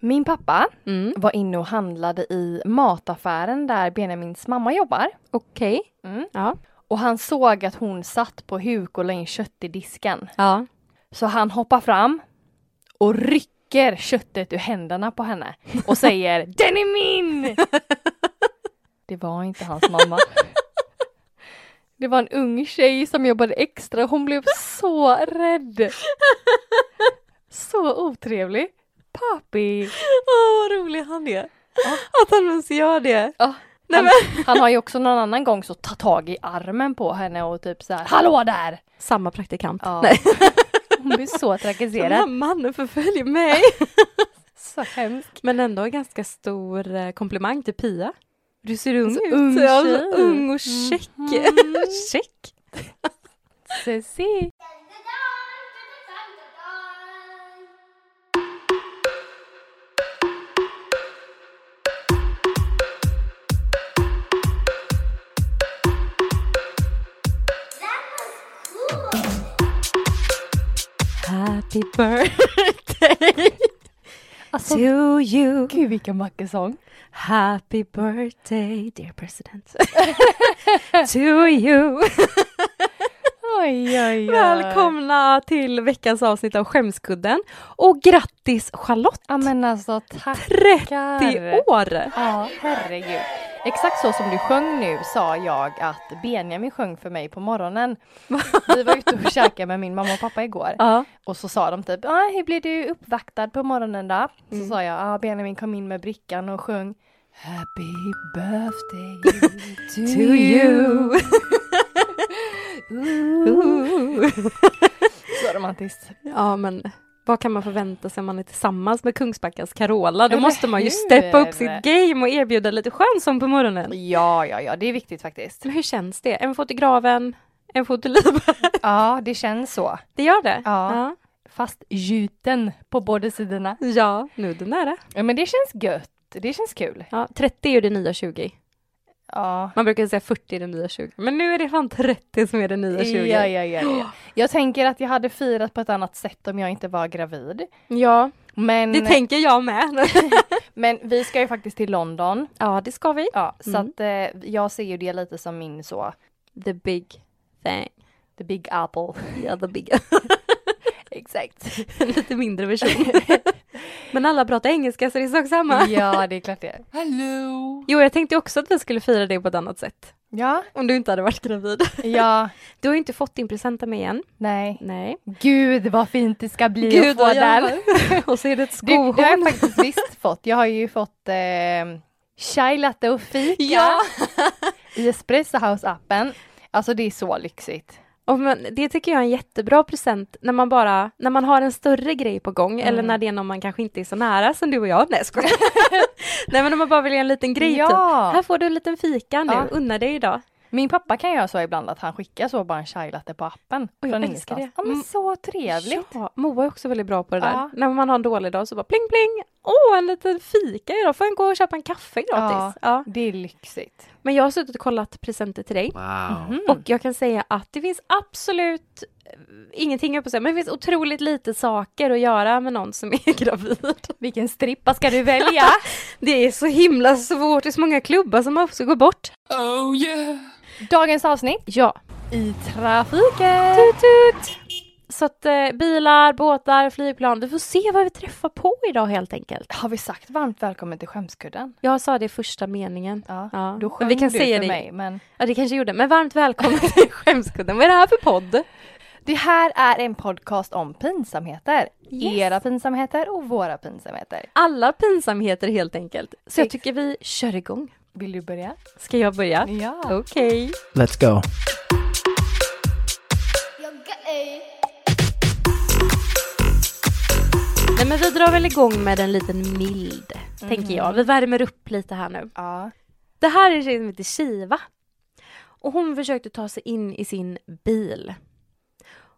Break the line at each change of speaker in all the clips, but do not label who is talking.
Min pappa
Mm.
var inne och handlade i mataffären där Benjamins mamma jobbar.
Okej. Ja.
Och han såg att hon satt på huk och la in kött i disken.
Ja.
Så han hoppar fram och rycker köttet ur händerna på henne och säger Den är min! Det var inte hans mamma. Det var en ung tjej som jobbade extra hon blev så rädd. Så otrevlig. Pappi.
Åh, vad rolig han är. Att han ens gör det.
Ja.
Nej,
Han, han har ju också någon annan gång så ta tag i armen på henne och typ så här Hallå där!
Samma praktikant.
Ja.
Nej.
Hon blir så
Den
trakasserad.
här mannen förföljer mig.
Så hemskt.
Men ändå en ganska stor eh, komplimang till Pia. Du ser ung
Så
ut.
ung
Ja, så
tjej.
ung och check.
Mhm.
check.
Ceci.
Happy birthday
Alltså,
to you.
Gud vilken vacker sång.
Happy birthday dear president. to you.
Oj, oj, oj.
Välkomna till veckans avsnitt av Skämskudden. Och grattis Charlotte!
Ja men alltså tack.
30 år!
Ja, herregud. Exakt så som du sjöng nu sa jag att Benjamin sjöng för mig på morgonen. Vi var ute och käkade med min mamma och pappa igår.
Ja.
Och så sa de typ, ah, hur blev du uppvaktad på morgonen då? Så
Mm.
sa jag, ah, Benjamin kom in med brickan och sjöng Happy birthday to,
To you.
Så romantiskt.
ja men vad kan man förvänta sig om man är tillsammans med Kungsbackas Carola? Då
Eller
måste man ju
hur?
steppa upp sitt game och erbjuda lite skönsång på morgonen.
Ja, ja, ja, det är viktigt faktiskt.
Men hur känns det? En fot i graven, en fot i livet.
Ja, det känns så.
Det gör det?
Ja.
Ja,
Fast gjuten på båda sidorna.
ja nu är det nära.
Ja, men det känns gött. Det känns kul.
Ja, 30 är ju det nya 20.
Ja.
Man brukar säga 40 är det nya 20. Men nu är det fan 30 som är det nya 20.
Ja, ja, ja, ja. Jag tänker att jag hade firat på ett annat sätt om jag inte var gravid.
Ja,
Men,
det tänker jag med.
men vi ska ju faktiskt till London.
ja, det ska vi.
Ja, så
Mm.
att eh, jag ser ju det lite som min så,
The big thing.
the big apple.
Ja, the big.
Exakt.
Lite mindre version. Men alla pratar engelska så det är sak samma.
ja, det är klart det. Hello!
Jo, jag tänkte också att vi skulle fira det på ett annat sätt.
Ja,
Om du inte hade varit gravid.
ja,
Du har ju inte fått din present av mig än.
nej.
Nej.
Gud vad fint det ska bli att få
vad jag
den.
har. Och så är det ett
Du, det har jag
skohorn.
faktiskt visst fått. Jag har ju fått eh, chai latte och fika
Ja!
i Espresso House-appen. Alltså det är så lyxigt.
Och men, det tycker jag är en jättebra present när man bara, när man har en större grej på gång eller när det är någon man kanske inte är så nära som du och jag. Nej, jag skojar. Nej men om man bara vill ge en liten grej
Ja.
typ. Här får du en liten fika nu,
Ja.
unna dig idag.
Min pappa kan göra så ibland att han skickar så bara en chai latte på appen.
jag
från
älskar
ingenstans.
det.
Ja men
Mm.
så trevligt.
Ja, Moa är också väldigt bra på det där.
Ja.
När man har en dålig dag så bara pling pling, åh en liten fika idag, får jag gå och köpa en kaffe gratis? Ja.
Det är lyxigt. Mhm.
Men jag har suttit och kollat presenter till dig
Mm.
och jag kan säga att det finns absolut eh, ingenting jag på att säga, men det finns otroligt lite saker att göra med någon som är gravid.
Vilken strippa ska du välja?
Det är så himla svårt, det är så många klubbar som också går bort.
Dagens avsnitt
Ja.
i trafiken.
Tut, tut. Så att eh, bilar, båtar, flygplan, vi får se vad vi träffar på idag helt enkelt.
Har vi sagt varmt välkommen till skämskudden?
Jag sa det i första meningen.
Ja,
Ja,
då
men
sjöng
vi kan
du
säga
för
det.
mig. Men
Ja, det kanske jag gjorde, men varmt välkommen till Skämskudden. Vad är det här för podd?
det här är en podcast om pinsamheter.
Yes.
Era pinsamheter och våra pinsamheter.
Alla pinsamheter helt enkelt. Så jag tycker vi kör igång. Mm.
Vill du börja?
Ska jag börja?
Ja.
Okej.
Let's go.
Nej, men vi drar väl igång med en liten mild, tänker jag. Vi värmer upp lite här nu.
Ja.
Det här är en tjej som heter Shiva. Och hon försökte ta sig in i sin bil.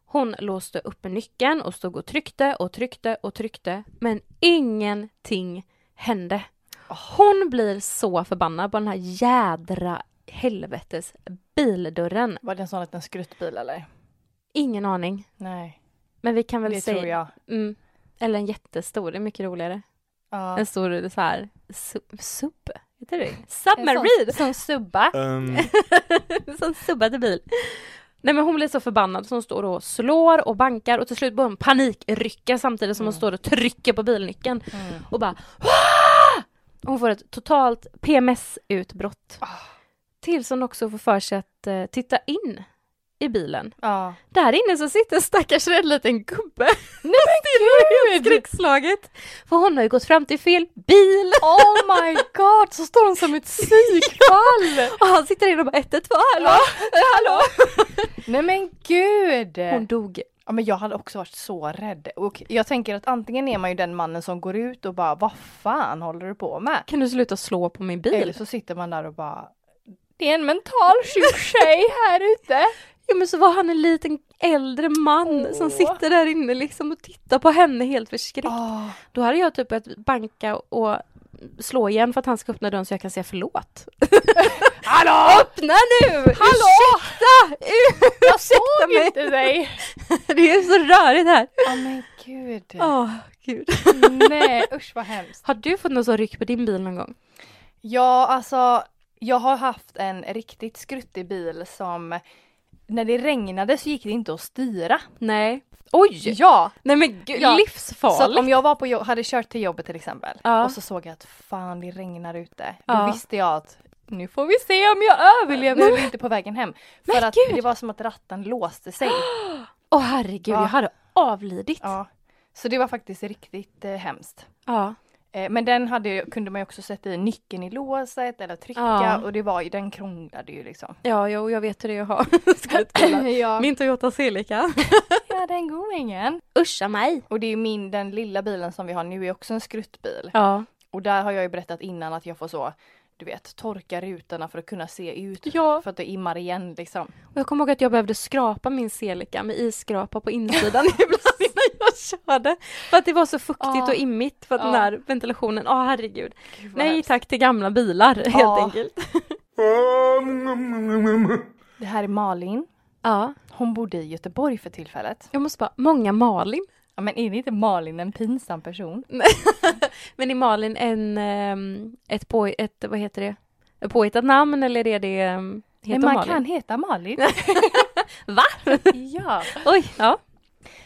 Hon låste upp nyckeln och stod och tryckte och tryckte och tryckte. Men ingenting hände. Hon blir så förbannad på den här jädra helvetes bildörren.
Var det en sån liten skruttbil eller?
Ingen aning.
Nej,
Men vi kan väl
det
säga...
tror jag.
Mm. Eller en jättestor, det är mycket roligare.
Ja.
En stor så här su- sub, heter det
En sån-
Submarine!
Sån subba.
Um,
En sån subbad bil. Nej men hon blir så förbannad så hon står och slår och bankar och till slut börjar hon panikrycka samtidigt som hon står och trycker på bilnyckeln
Mm.
och bara "Wah!" Hon får ett totalt PMS-utbrott.
Ah.
Tills hon också får för sig att eh, titta in i bilen.
Ja.
Där inne så sitter stackars en liten gubbe.
Nej men gud!
Skräckslaget. För hon har ju gått fram till fel bil.
Oh my god, så står hon som ett psykfall!
Och han sitter inne och bara 112, hallå? hallå?
Nej men gud!
Hon dog.
Ja, men jag hade också varit så rädd. Och jag tänker att antingen är man ju den mannen som går ut och bara vad fan håller du på med?
Kan du sluta slå på min bil?
Eller så sitter man där och bara det är en mental sjuk tjej här ute.
Ja men så var han en liten äldre man som
Åh.
sitter där inne liksom och tittar på henne helt förskräckt.
Oh,
Då hade jag typ börjat banka och slå igen för att han ska öppna dörren så jag kan säga förlåt.
hallå!
Öppna nu!
Hallå!
Ursäkta!
Jag såg
mig.
inte dig!
Det är så rörigt här.
Ja men gud.
Åh, gud.
Nej usch vad hemskt.
Har du fått någon sån ryck på din bil någon gång?
Ja alltså jag har haft en riktigt skruttig bil som när det regnade så gick det inte att styra.
Nej. Oj!
Ja!
Nej men gud,
Ja. Så att
livsfarligt!
om jag var på jobb, hade kört till jobbet till exempel
Ja.
och så såg jag att fan det regnar ute. Då
Ja.
visste jag att nu får vi se om jag överlever eller inte på vägen hem. För
Men
att
gud!
det var som att ratten låste sig.
Åh herregud,
Ja.
jag hade avlidit.
Ja. Så det var faktiskt riktigt eh, hemskt.
Ja.
Eh, men den hade, ju- kunde man ju också sätta i nyckeln i låset eller trycka
Ja.
och det var ju, den krånglade ju liksom.
Ja, jo, jag vet hur det är att ha skruttbilar.
ja.
Min Toyota Celica.
ja, den godingen.
Uscha mig!
Och det är ju min, den lilla bilen som vi har nu är också en skruttbil.
Ja.
Och där har jag ju berättat innan att jag får så, du vet, torka rutorna för att kunna se ut.
Ja.
För att det immar igen liksom.
Och jag kommer ihåg att jag behövde skrapa min Celica med isskrapa på insidan ibland innan jag körde. För att det var så fuktigt
Ja.
och immigt för att den
Ja.
där ventilationen, åh herregud.
Gud, vad
Nej
hemskt.
tack till gamla bilar helt
Ja.
enkelt.
Det här är Malin.
Ja,
Hon bodde i Göteborg för tillfället.
jag måste bara, många Malin.
Ja, men är inte Malin en pinsam person?
Men är Malin en, ehm, ett, på, ett vad heter det, ett påhittat namn eller är det, ehm, heter
Men man
Malin?
kan heta Malin.
Va?
ja.
Oj, ja.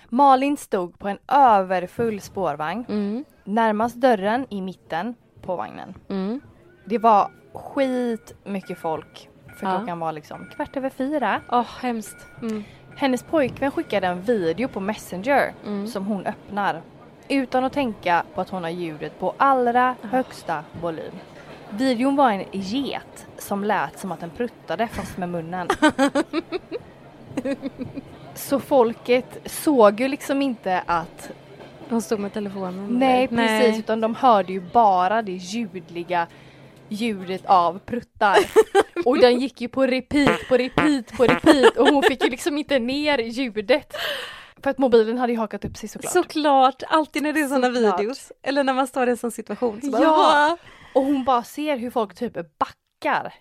Malin stod på en överfull spårvagn.
Mm,
Närmast dörren i mitten på vagnen.
mm,
Det var skit mycket folk. För
Ja.
klockan var liksom kvart över fyra.
åh hemskt. Mm,
Hennes pojkvän skickade en video på Messenger
Mm.
som hon öppnar utan att tänka på att hon har ljudet på allra högsta volym. Videon var en get som lät som att den pruttade fast med munnen. Så folket såg ju liksom inte att
hon stod med telefonen.
nej
eller?
precis utan de hörde ju bara det ljudliga ljudet av pruttar. Och den gick ju på repeat, på repeat, på repeat och hon fick ju liksom inte ner ljudet. För att mobilen hade ju hakat upp sig såklart.
Såklart, alltid när det är sådana
Såklart.
videos. Eller när man står i en sån situation. Så bara,
Ja.
"Va?"
Och hon bara ser hur folk typ backar.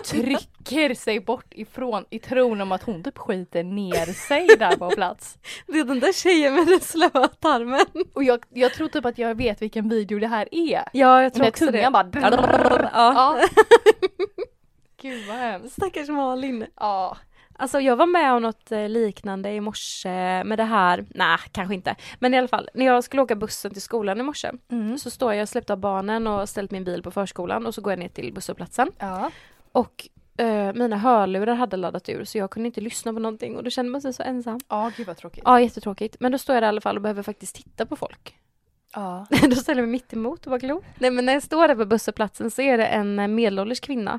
Trycker sig bort ifrån i tron om att hon typ skiter ner sig där på plats.
Det är den där tjejen med den slöa tarmen.
Och jag, jag tror typ att jag vet vilken video det här är.
Ja, jag tror
När
också det.
tungan bara...
Ja.
Ja. Gud vad hemskt.
Stackars Malin.
Ja.
Alltså jag var med om något eh, liknande i morse med det här, nej kanske inte, men i alla fall när jag skulle åka bussen till skolan i morse
Mm.
så står jag och släppte av barnen och ställt min bil på förskolan och så går jag ner till busshållplatsen
Ja.
och eh, mina hörlurar hade laddat ur så jag kunde inte lyssna på någonting och då kände man sig så ensam.
Ja, gud vad tråkigt.
Ja jättetråkigt, men då står jag där i alla fall och behöver faktiskt titta på folk.
Ja.
då ställer jag mig mitt emot och bara glor. Nej men när jag står där på busshållplatsen så är det en eh, medelålders kvinna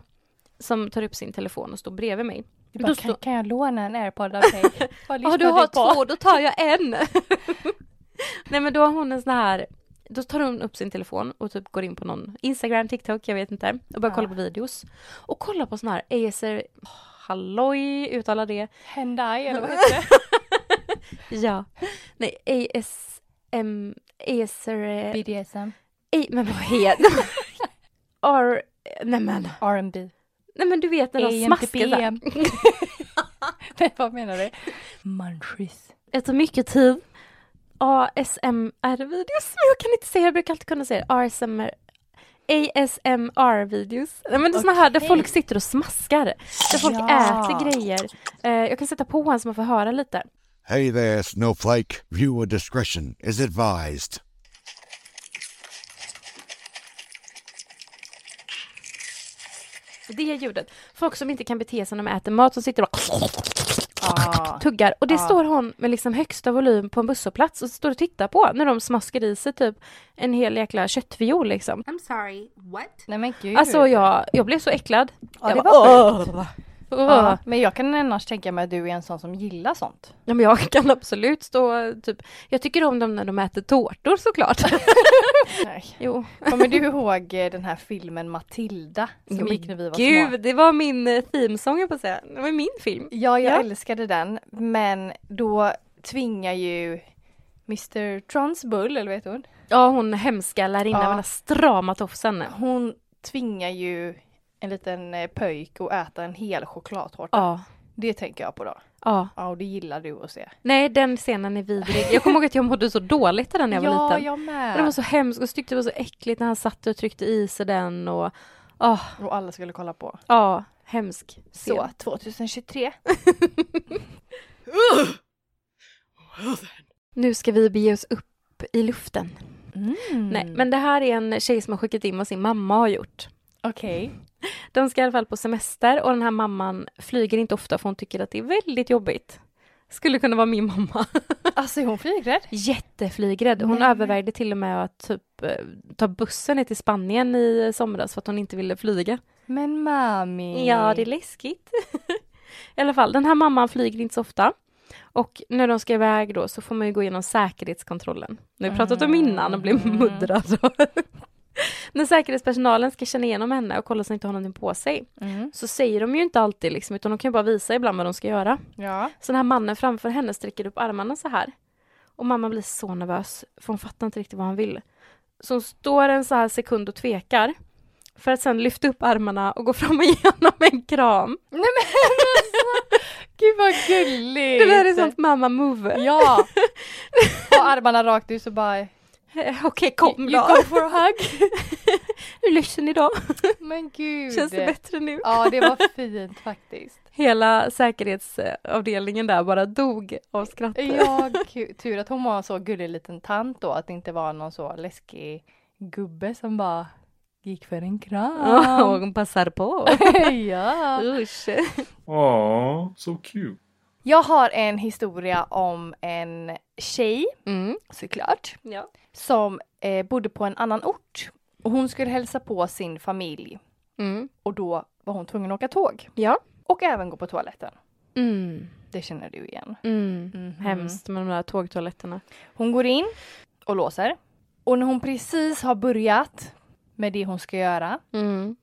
som tar upp sin telefon och står bredvid mig.
Du bara,
Då
kan,
står-
kan jag låna en airpod av dig? Vad
Ja
lyssnar
du har
på?
två, då tar jag en! Nej men då har hon en sån här, då tar hon upp sin telefon och typ går in på någon Instagram, TikTok, jag vet inte. Och börjar
Ja.
kolla på videos. Och kolla på sån här Acer, oh, halloj, uttala det.
Hendai eller vad heter det?
Ja. Nej, ASM, Acer, eh,
BDSM.
A, men vad heter R, nej men,
R&B.
nej men du vet när de smaskar så här.
AMPM. Nej, vad menar du? Munchies.
Det tar mycket tid. ASMR-videos. Men Jag kan inte säga, jag brukar alltid kunna säga det. ASMR. ASMR-videos. Nej men det är såna här där
Okej.
folk sitter och smaskar. Där folk
Ja.
äter grejer. Eh, jag kan sätta på en så man får höra lite.
Hey there, Snowflake. Viewer discretion is advised.
Det är ljudet. Folk som inte kan bete sig när de äter mat som sitter och
Ah.
tuggar. Och det
Ja.
står hon med liksom högsta volym på en busshållplats och står och tittar på när de smaskar i sig typ en hel jäkla köttfiol liksom.
I'm sorry, what?
Nej men gud.
Alltså jag, jag blev så äcklad.
Ja,
jag
det
bara,
var
"Åh."
Ja,
Åh.
men jag kan annars tänka mig att du är en sån som gillar sånt.
Ja, men jag kan absolut stå typ, jag tycker om dem när de äter tårtor såklart.
Nej. Alltså,
jo.
Kommer du ihåg eh, den här filmen Matilda som gick när vi var
Gud,
små?
det var min eh, themesång jag på säga. Det var min film.
Ja, jag
Ja.
älskade den. Men då tvingar ju Mr Transbull, eller vet hon?
Ja, hon hemska lärarinnan
Ja.
med den här strama tofsen.
Hon tvingar ju en liten eh, pöjk att äta en hel chokladtårta.
Ja.
Det tänker jag på då.
Ja,
Ja, och det gillar du att se.
nej den scenen är vidrig. Jag kommer ihåg att jag mådde så dåligt i den när jag var
ja,
liten.
jag med.
Den var så hemsk och så tyckte det var så äckligt när han satt och tryckte i sig den och ah,
Och alla skulle kolla på.
ja, hemsk scen.
Så, 2023.
Nu ska vi bege oss upp i luften.
Mm.
Nej, men det här är en tjej som har skickat in vad sin mamma har gjort.
Okej.
De ska i alla fall på semester och den här mamman flyger inte ofta för hon tycker att det är väldigt jobbigt. Skulle kunna vara min mamma.
Alltså är hon flygrädd?
Jätteflygrädd. Hon
Nej.
övervägde till och med att typ eh, ta bussen ner till Spanien i somras för att hon inte ville flyga.
Men mami.
Ja, det är läskigt. I alla fall, den här mamman flyger inte så ofta. Och när de ska iväg då så får man ju gå igenom säkerhetskontrollen. Nu har vi pratat om innan och blev
Mm.
muddrad. när säkerhetspersonalen ska känna igenom henne och kolla så att hon inte har någonting på sig
Mm.
så säger de ju inte alltid liksom, utan de kan ju bara visa ibland vad de ska göra.
Ja.
Så den här mannen framför henne sträcker upp armarna så här. Och mamma blir så nervös, för hon fattar inte riktigt vad han vill. Så hon står en så här sekund och tvekar. För att sen lyfta upp armarna och gå fram och ge honom en kram.
Nej men alltså, gud vad gulligt!
Det där är sånt mamma-move.
Ja! Ha armarna rakt ut så bara,
Eh, Okej, kom
you
då.
go for a hug.
Är du ledsen idag?
Men gud!
Känns det bättre nu?
Ja det var fint faktiskt.
Hela säkerhetsavdelningen där bara dog av skratt.
Ja, gud. tur att hon var en så gullig liten tant då, att det inte var någon så läskig gubbe som bara gick för en
Ja, och
kram.
hon passar på.
ja.
Usch.
Aw, so cute.
Jag har en historia om en tjej,
Mm.
såklart,
Ja.
som eh, bodde på en annan ort. Och hon skulle hälsa på sin familj
Mm.
och då var hon tvungen att åka tåg.
Ja.
Och även gå på toaletten.
Mm.
Det känner du igen.
Mm. Hemskt med de där tågtoaletterna.
Hon går in och låser. Och när hon precis har börjat med det hon ska göra
Mm.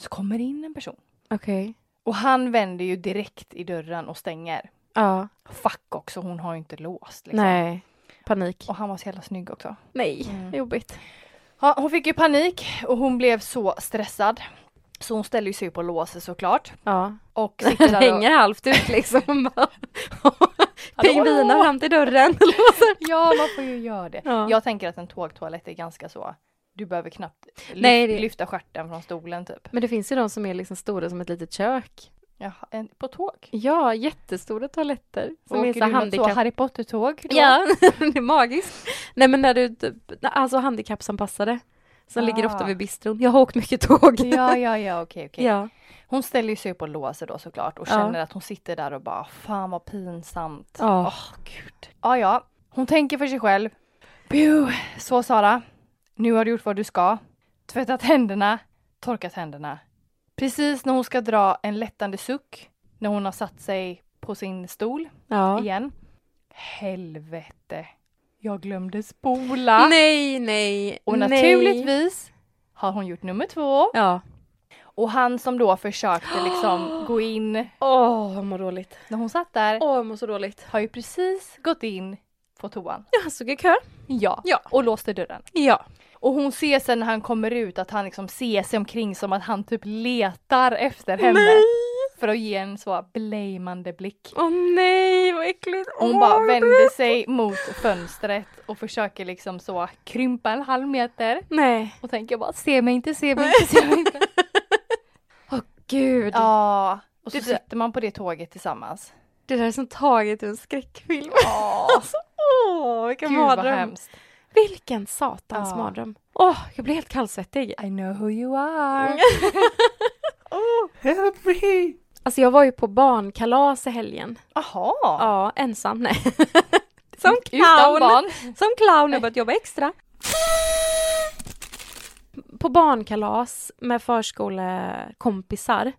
så kommer det in en person.
Okej.
Och han vänder ju direkt i dörren och stänger.
Ja.
Fuck också, hon har ju inte låst. Liksom.
Nej. Panik. Mm.
Och han var så jävla snygg också.
nej. Jobbigt.
Ja, hon fick ju panik och hon blev så stressad. Så hon ställer ju sig upp och låser såklart.
Ja.
Och sitter där och...
Hänger halvt ut liksom. Pingvina fram till dörren.
Ja, man får ju göra det.
Ja.
Jag tänker att en tågtoalett är ganska så... Du behöver knappt lyf-
Nej, det-
lyfta stjärten från stolen typ.
Men det finns ju de som är liksom stora som ett litet kök.
Jaha, en, på tåg?
Ja, jättestora toaletter. Som
Åker
är så
du något så
handikapp...
Harry Potter-tåg? då?
Ja, det är magiskt. Nej men när du, typ- alltså handikappsanpassade. Som ligger
Ah.
ofta vid bistron. Jag har åkt mycket tåg.
Ja, ja, ja, okej, okej.
ja.
Hon ställer ju sig upp och låser då såklart och
Ja.
känner att hon sitter där och bara fan vad pinsamt.
Ja.
Åh, gud. Ja, ja. Hon tänker för sig själv. Buh. Så Sara, nu har du gjort vad du ska. Tvättat händerna, torkat händerna. Precis när hon ska dra en lättande suck när hon har satt sig på sin stol
ja.
igen. Helvete, jag glömde spola.
Nej, nej,
och
nej.
naturligtvis har hon gjort nummer två.
Ja.
Och han som då försökte liksom gå in
Åh, jag mår dåligt.
när hon satt där
Åh, jag mår så dåligt.
har ju precis gått in på toan.
Jag stod i kö.
Ja.
Ja.
Och låste dörren.
Ja.
Och hon ser sen när han kommer ut att han liksom ser sig omkring som att han typ letar efter henne.
Nej.
För att ge en så blamande blick.
Åh nej, vad äckligt!
Och hon
Åh,
bara
vad
vänder
äckligt.
sig mot fönstret och försöker liksom så krympa en halv meter.
Nej.
Och tänker bara se mig inte, se mig inte, se mig inte.
Åh gud.
Ja. Och så
Det där-
sitter man på det tåget tillsammans.
Det där är som taget ur en skräckfilm.
Ja.
Alltså, åh, vilken
Gud vad
mardröm.
hemskt.
Vilken satans
Ja.
mardröm. Åh, jag blir helt kallsvettig.
I know who you are.
Help me!
Alltså jag var ju på barnkalas i helgen.
Jaha.
Ja, ensam. Nej. Som
Utan
clown.
barn.
Som clown, jag börjat jobba extra. På barnkalas med förskolekompisar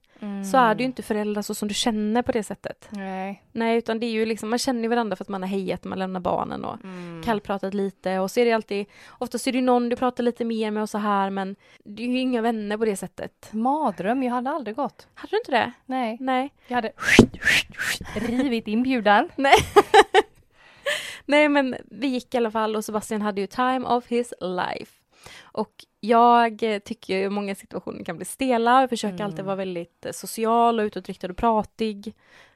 så är det ju inte föräldrar så som du känner på det sättet.
Nej.
Nej, utan det är ju liksom, man känner ju varandra för att man har hejat, man lämnar barnen och
Mm.
kallpratat lite och så är det alltid, oftast är det ju någon du pratar lite mer med och så här men det är ju inga vänner på det sättet.
Mardröm, jag hade aldrig gått.
Hade du inte det?
Nej.
Nej.
Jag hade rivit inbjudan.
Nej men vi gick i alla fall och Sebastian hade ju time of his life. Och jag eh, tycker ju i många situationer kan bli stela och försöker alltid
Mm.
vara väldigt eh, social och utåtriktad och pratig.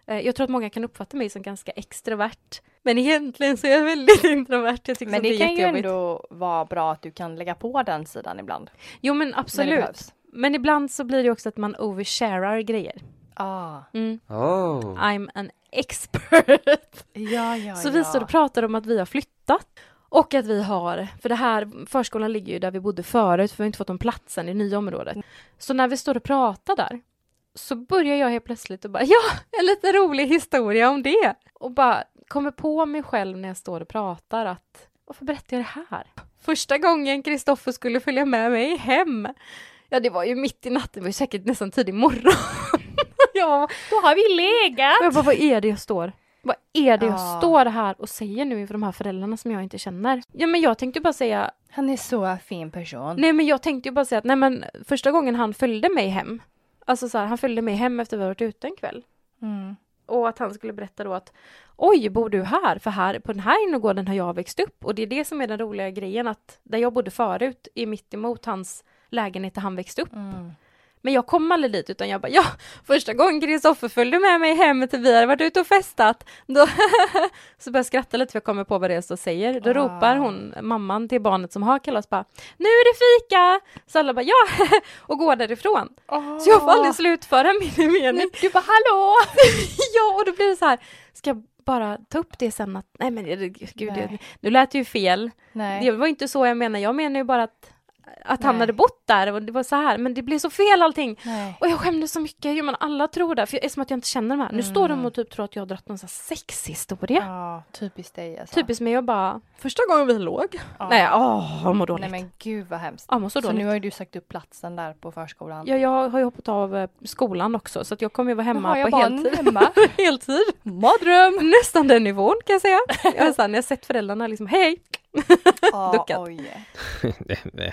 Eh, Jag tror att många kan uppfatta mig som ganska extrovert. Men egentligen så är jag väldigt introvert. Jag tycker
Men
sånt
det
är
kan ju
jättejobbigt.
ändå vara bra att du kan lägga på den sidan ibland. när
Jo men
det
absolut.
behövs.
Men ibland så blir det också att man oversharar grejer.
Ah.
Mm.
Oh.
I'm an expert.
Ja, ja,
så
ja.
vi står och pratar om att vi har flyttat. Och att vi har, för det här, förskolan ligger ju där vi bodde förut, för vi har inte fått någon plats än i nya området. Så när vi står och pratar där, så börjar jag helt plötsligt och bara, ja, en lite rolig historia om det. Och bara kommer på mig själv när jag står och pratar att, varför berättar jag det här? Första gången Kristoffer skulle följa med mig hem, ja det var ju mitt i natten, det var ju säkert nästan tidig morgon. jag bara,
Då har vi legat!
och jag bara, vad är det jag står? Vad är det
Ja.
jag står här och säger nu inför de här föräldrarna som jag inte känner? Ja men jag tänkte ju bara säga,
Han är så fin person.
nej men jag tänkte ju bara säga att nej men första gången han följde mig hem, alltså så här, han följde mig hem efter vi hade varit ute en kväll.
Mm.
Och att han skulle berätta då att oj, bor du här? För här, på den här innergården har jag växt upp. Och det är det som är den roliga grejen att där jag bodde förut är mitt emot hans lägenhet där han växte upp.
Mm.
Men jag kom aldrig dit utan jag bara ja, första gången Kristoffer följde med mig hem till vi hade varit ute och festat. Då så började jag skratta lite för jag kommer på vad det är som säger. Då
Ah.
ropar hon, mamman till barnet som har kalas bara nu är det fika! Så alla bara ja och går därifrån.
Mm.
Så jag får
Ah.
aldrig slutföra min mening.
Du bara hallå!
ja och då blir det så här, ska jag bara ta upp det sen att nej men det- gud, det,
Nej.
nu lät det ju fel.
Nej.
Det var inte så jag menar, jag menar ju bara att att han
Nej.
hade bott där och det var så här, men det blev så fel allting.
Nej.
Och jag skämdes så mycket, jo, men alla tror det, för jag, eftersom att jag inte känner de här. Nu står de och typ tror att jag har dragit någon sån här sexhistoria.
Mm. Ja, typiskt dig alltså.
Typiskt mig, jag bara, första gången vi låg.
Ja.
Nej, åh, jag mår
Nej
dåligt.
men gud vad hemskt.
Jag mår så
Så, nu
dåligt.
har ju du sagt upp platsen där på förskolan.
Ja, jag har ju hoppat av eh, skolan också, så att jag kommer ju vara
Nu
hemma
har jag
på
barnen
heltid.
hemma.
heltid. Mardröm! Nästan den nivån kan jag säga. Jag har, så här, när jag sett föräldrarna liksom, hej!
Ah,
Duckat.
Oj.
Eh,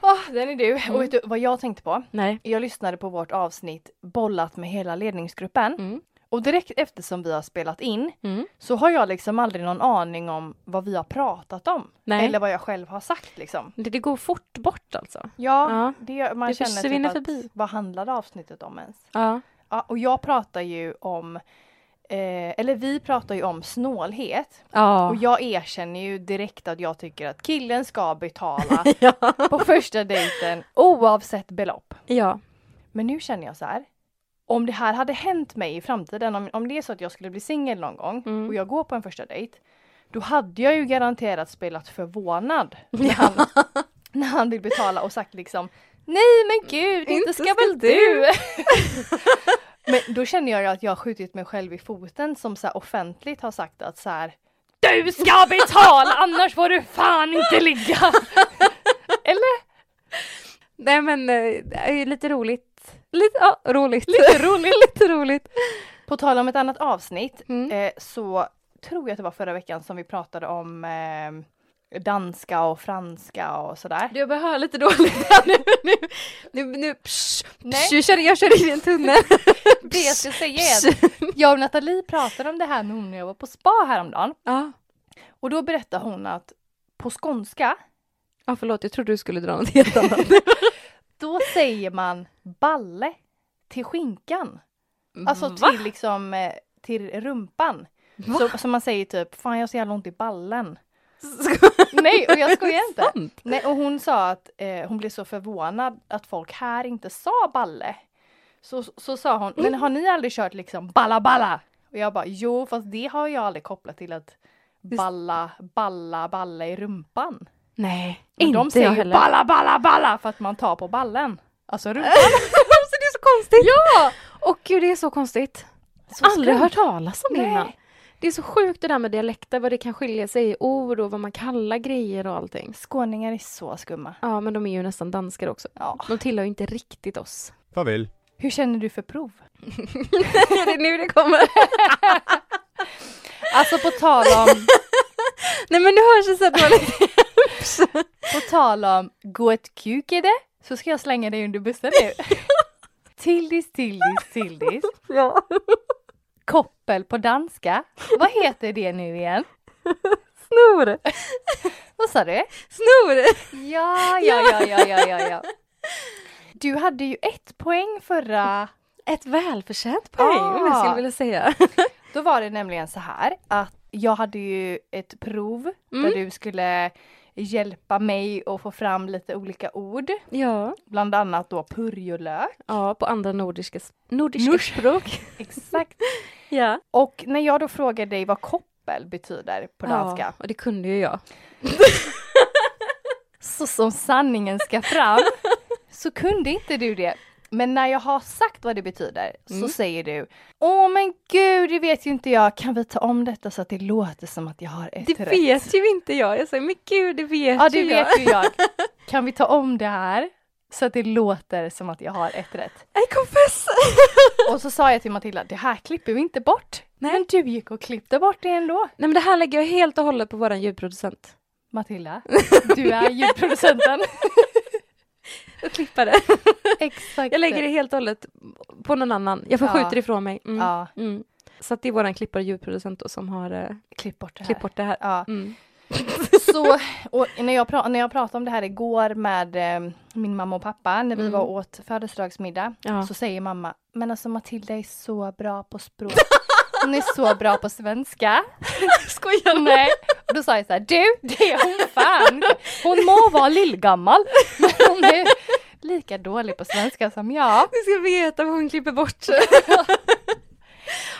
Ah, den är du. Och vet du vad jag tänkte på?
Nej.
Jag lyssnade på vårt avsnitt Bollat med hela ledningsgruppen.
Mm.
Och direkt eftersom vi har spelat in
Mm.
så har jag liksom aldrig någon aning om vad vi har pratat om.
Nej.
Eller vad jag själv har sagt liksom.
Det, det går fort bort alltså.
Ja,
Ja.
Det, gör- man
Det
känner typ
försvinner
att
förbi.
vad handlade avsnittet om ens?
Ja.
Ja, och jag pratar ju om, eh, eller vi pratar ju om snålhet. Och
Ja.
jag erkänner ju direkt att jag tycker att killen ska betala på första dejten oavsett belopp.
Ja.
Men nu känner jag så här. Om det här hade hänt mig i framtiden, om, om det är så att jag skulle bli singel någon gång
Mm.
och jag går på en första dejt, då hade jag ju garanterat spelat förvånad när, han, när han vill betala och sagt liksom Nej men gud, inte,
Inte
ska,
ska
väl
du."
du! men då känner jag ju att jag har skjutit mig själv i foten som så här offentligt har sagt att så här Du ska betala annars får du fan inte ligga! Eller?
Nej men eh, det är ju lite roligt. Lite, ja, roligt. Lite roligt. lite roligt.
På tal om ett annat avsnitt
Mm.
eh, så tror jag att det var förra veckan som vi pratade om eh, danska och franska och sådär.
Du, jag börjar höra lite dåligt här nu. Nu, nu, nu psch,
Nej.
psch, jag kör, jag kör in i en tunnel.
Det jag skulle säga är att
Psch.
jag och Nathalie pratade om det här med hon när jag var på spa häromdagen.
Ja,
Och då berättade hon att på skånska,
ja, förlåt, jag trodde du skulle dra något helt annat.
då säger man balle. till skinkan. Alltså
Mm. Va?
till liksom eh, till rumpan. Så, så man säger typ, fan jag har så jävla ont i ballen. Nej, och jag skojar inte.
Sant.
Nej, och hon sa att eh, hon blev så förvånad att folk här inte sa balle. Så, så sa hon, men har ni aldrig kört liksom balla balla? Och jag bara, jo fast det har jag aldrig kopplat till att balla, balla, balla i rumpan.
Nej,
Men
inte
de säger
jag
ju
heller.
balla, balla, balla för att man tar på ballen. Alltså rumpan.
Alltså, det är så konstigt!
ja!
Och gud, det är så konstigt.
Så
Aldrig
skumt.
hört talas om det
Nej.
innan. Det är så sjukt det där med dialekter, vad det kan skilja sig i ord och vad man kallar grejer och allting.
Skåningar är så skumma.
Ja, men de är ju nästan danskar också.
Ja.
De tillhör ju inte riktigt oss.
Farväl.
Hur känner du för prov?
det är nu det kommer.
Alltså på tal om,
Nej men du hörs ju så här dåligt.
på tal om gå ett kuk i det så ska jag slänga dig under bussen nu. Tildis, Tildis, Tildis.
ja.
Koppel på danska. Vad heter det nu igen?
Snor!
Vad sa du?
Snor!
Ja, ja, ja, ja, ja, ja, ja. Du hade ju ett poäng förra
Ett välförtjänt poäng om jag
Ah.
skulle vilja säga.
Då var det nämligen så här att jag hade ju ett prov
Mm.
där du skulle hjälpa mig att få fram lite olika ord,
ja.
bland annat då purjolök.
Ja, på andra nordiska, s- nordiska
Nors-
språk.
Exakt.
ja.
Och när jag då frågade dig vad koppel betyder på danska,
Ja, och det kunde ju jag.
så som sanningen ska fram, så kunde inte du det. Men när jag har sagt vad det betyder
Mm.
så säger du Åh men gud, det vet ju inte jag, kan vi ta om detta så att det låter som att jag har ett
Det
rätt?
vet ju inte jag. Jag säger, men gud, det vet
Ja, det
ju
vet
jag.
ju jag. Kan vi ta om det här? Så att det låter som att jag har ett rätt.
I confess!
Och så sa jag till Matilda, det här klipper vi inte bort.
Nej.
Men du gick och klippte bort det ändå.
Nej men det här lägger jag helt och hållet på våran ljudproducent.
Matilda, du är ljudproducenten.
Jag klippar det.
Exakt.
Jag lägger det helt och hållet på någon annan. Jag förskjuter
Ja.
ifrån mig. Mm.
Ja,
Mm. Så att det är våran klippare och ljudproducent då, som har eh,
klipp bort det här.
klippt bort det här.
Ja.
Mm.
Så, och när, jag pra- när jag pratade om det här igår med eh, min mamma och pappa när vi
Mm.
var och åt födelsedagsmiddag
Ja.
så säger mamma, men alltså Matilda är så bra på språk. Hon är så bra på svenska.
Skojar du?
Nej. Och då sa jag så här, du det är hon fan inte. Hon må vara lillgammal men hon är lika dålig på svenska som jag.
Du ska veta vad hon klipper bort.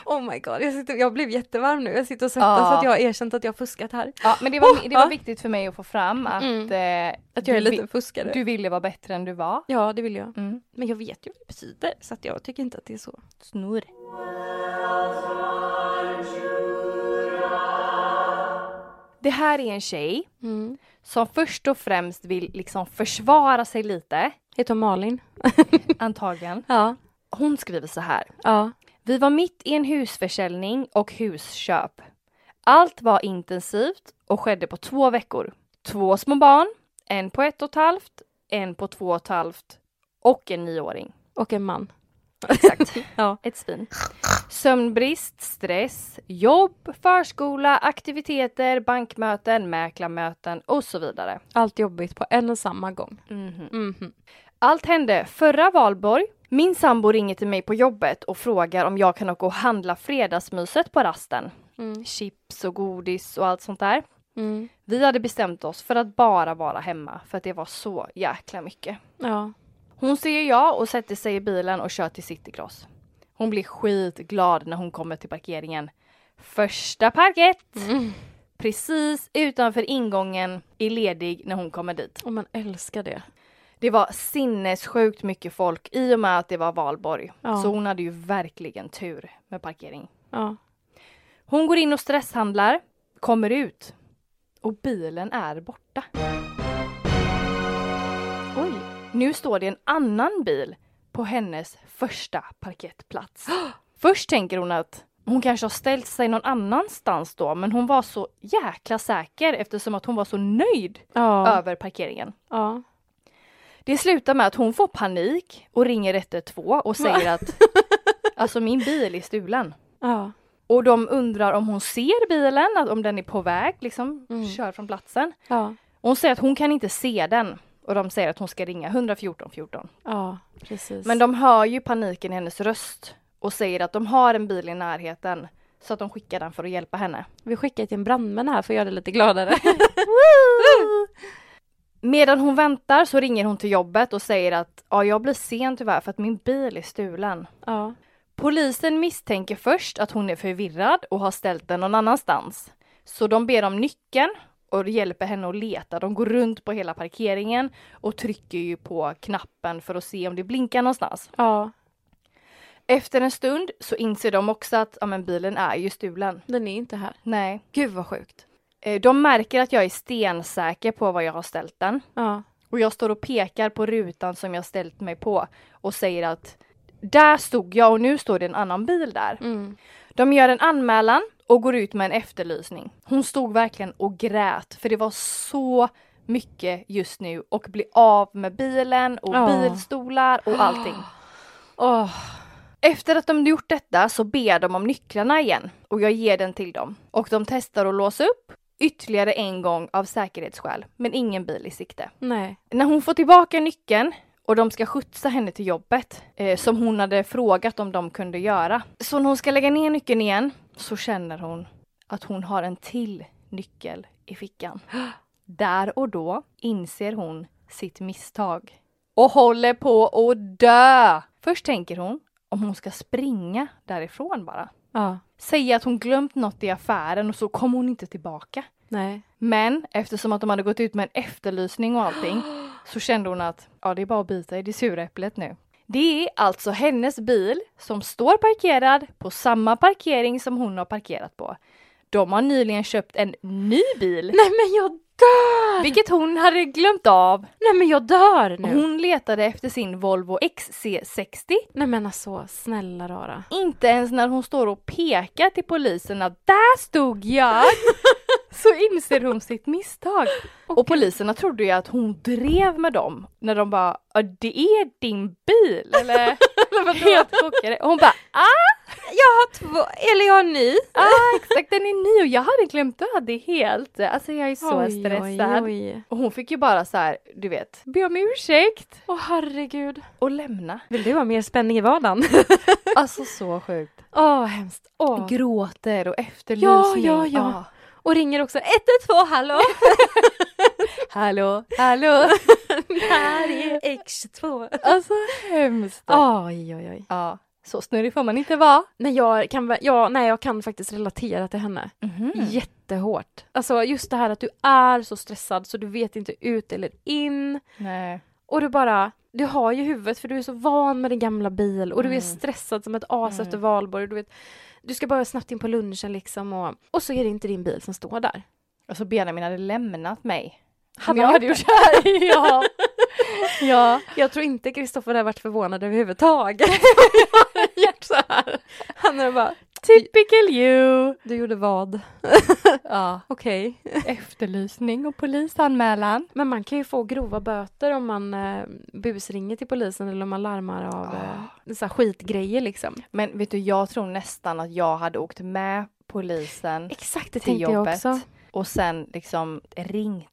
oh my god, jag, sitter, jag blev jättevarm nu. Jag sitter och svettas
Ja.
för att jag har erkänt att jag har fuskat här.
Ja, men det var, det
Ja. Mm.
var viktigt för mig att få fram att, eh,
Att jag är
du,
lite
vi-
fuskare.
du ville vara bättre än du var.
Ja, det vill jag.
Mm.
Men jag vet ju vad det betyder, så att jag tycker inte att det är så.
Snurr. Det här är en tjej
Mm.
som först och främst vill liksom försvara sig lite,
Heter hon Malin?
antagligen.
Ja.
Hon skriver så här.
Ja.
Vi var mitt i en husförsäljning och husköp. Allt var intensivt och skedde på två veckor. Två små barn, en på ett och ett halvt, en på två och ett halvt och en nioåring.
Och en man.
Exakt.
Ja.
Ett svin. Sömnbrist, stress, jobb, förskola, aktiviteter, bankmöten, mäklarmöten och så vidare.
Allt jobbigt på en och samma gång.
Mhm.
Mhm.
Allt hände förra valborg. Min sambo ringer till mig på jobbet och frågar om jag kan åka och handla fredagsmyset på rasten.
Mm.
Chips och godis och allt sånt där. Vi hade bestämt oss för att bara vara hemma för att det var så jäkla mycket.
Ja.
Hon säger ja och sätter sig i bilen och kör till Citycross. Hon blir skitglad när hon kommer till parkeringen. Första parkett! Precis utanför ingången är ledig när hon kommer dit.
Och man älskar det.
Det var sinnessjukt mycket folk i och med att det var valborg.
Ja.
Så hon hade ju verkligen tur med parkering.
Ja.
Hon går in och stresshandlar, kommer ut och bilen är borta. Oj, nu står det en annan bil på hennes första parkettplats. Först tänker hon att hon kanske har ställt sig någon annanstans då, men hon var så jäkla säker eftersom att hon var så nöjd
Ja.
över parkeringen.
ja.
Det slutar med att hon får panik och ringer 112 och säger att alltså min bil är stulen.
ja.
Och de undrar om hon ser bilen, att om den är på väg, liksom,
Mm.
kör från platsen.
ja.
Och hon säger att hon kan inte se den. Och de säger att hon ska ringa 114 14.
Ja, precis.
Men de hör ju paniken i hennes röst och säger att de har en bil i närheten så att de skickar den för att hjälpa henne.
Vi skickar till en brandman här för att göra det lite gladare.
Medan hon väntar så ringer hon till jobbet och säger att ja, jag blir sen tyvärr för att min bil är stulen.
ja.
Polisen misstänker först att hon är förvirrad och har ställt den någon annanstans. Så de ber om nyckeln och hjälper henne att leta. De går runt på hela parkeringen och trycker ju på knappen för att se om det blinkar någonstans.
ja,
Efter en stund så inser de också att ja, men bilen är ju stulen.
den är inte här.
Nej.
Gud vad sjukt.
Eh, De märker att jag är stensäker på var jag har ställt den.
Ja,
Och jag står och pekar på rutan som jag ställt mig på och säger att där stod jag och nu står det en annan bil där.
mm.
De gör en anmälan och går ut med en efterlysning. Hon stod verkligen och grät för det var så mycket just nu och bli av med bilen och
Ja.
bilstolar och allting.
Åh,
Efter att de gjort detta så ber de om nycklarna igen och jag ger den till dem. Och de testar att låsa upp ytterligare en gång av säkerhetsskäl men ingen bil i sikte.
nej.
När hon får tillbaka nyckeln och de ska skjutsa henne till jobbet eh, som hon hade frågat om de kunde göra. Så när hon ska lägga ner nyckeln igen så känner hon att hon har en till nyckel i fickan. Där och då inser hon sitt misstag och håller på att dö. Först tänker hon om hon ska springa därifrån bara.
Ja,
Säga att hon glömt något i affären och så kommer hon inte tillbaka.
nej.
Men eftersom att de hade gått ut med en efterlysning och allting så kände hon att ja, det är bara att bita i det sura äpplet nu. Det är alltså hennes bil som står parkerad på samma parkering som hon har parkerat på. De har nyligen köpt en ny bil,
Nej men jag dör! Mm.
vilket hon hade glömt av.
Nej men jag dör
Och
nu!
Hon letade efter sin Volvo XC60.
Nej men alltså, snälla rara.
Inte ens när hon står och pekar till polisen att där stod jag! Så inser hon sitt misstag. Och poliserna trodde ju att hon drev med dem när de bara "Ja, det är din bil eller? Helt chockade. Och hon bara ah,
Jag har två, eller jag har en ny.
ah exakt den är ny och jag hade glömt av det helt. Alltså jag är så
Oj,
stressad.
Oj, oj.
Och hon fick ju bara så här, du vet, be om ursäkt
Åh herregud.
och lämna.
Vill du ha mer spänning i vardagen?
Alltså så sjukt.
Åh, hemskt. Åh.
Gråter och efterlysning.
ja, ja.
Ah.
Och ringer också 112, hallå!
Hallå, hallå!
Här är X2.
Alltså hemskt. Ja.
Oj, oj, oj.
så snurrig får man inte vara.
Nej jag, kan, vä- ja, nej, jag kan faktiskt relatera till henne. Mm.
Ja.
Jättehårt. Alltså just det här att du är så stressad så du vet inte ut eller in.
Nej.
Och du bara, du har ju huvudet för du är så van med din gamla bil och du är
Mm.
stressad som ett as efter valborg. Du, vet, du ska bara snabbt in på lunchen liksom och, och så är det inte din bil som står där.
Alltså Benjamin hade lämnat mig.
Hade
Om jag
han
hade
gjort
gjort så här. ja. ja.
Jag tror inte Kristoffer hade varit förvånad överhuvudtaget. Gjort så här. Han hade bara,
Typical you.
du gjorde vad?
Ja.
Okej.
Efterlysning och polisanmälan.
Men man kan ju få grova böter om man eh, busringer till polisen eller om man larmar av eh, så här skitgrejer liksom.
Men vet du, jag tror nästan att jag hade åkt med polisen
Exakt, det
till
tänkte jag
jobbet
också.
och sen liksom ringt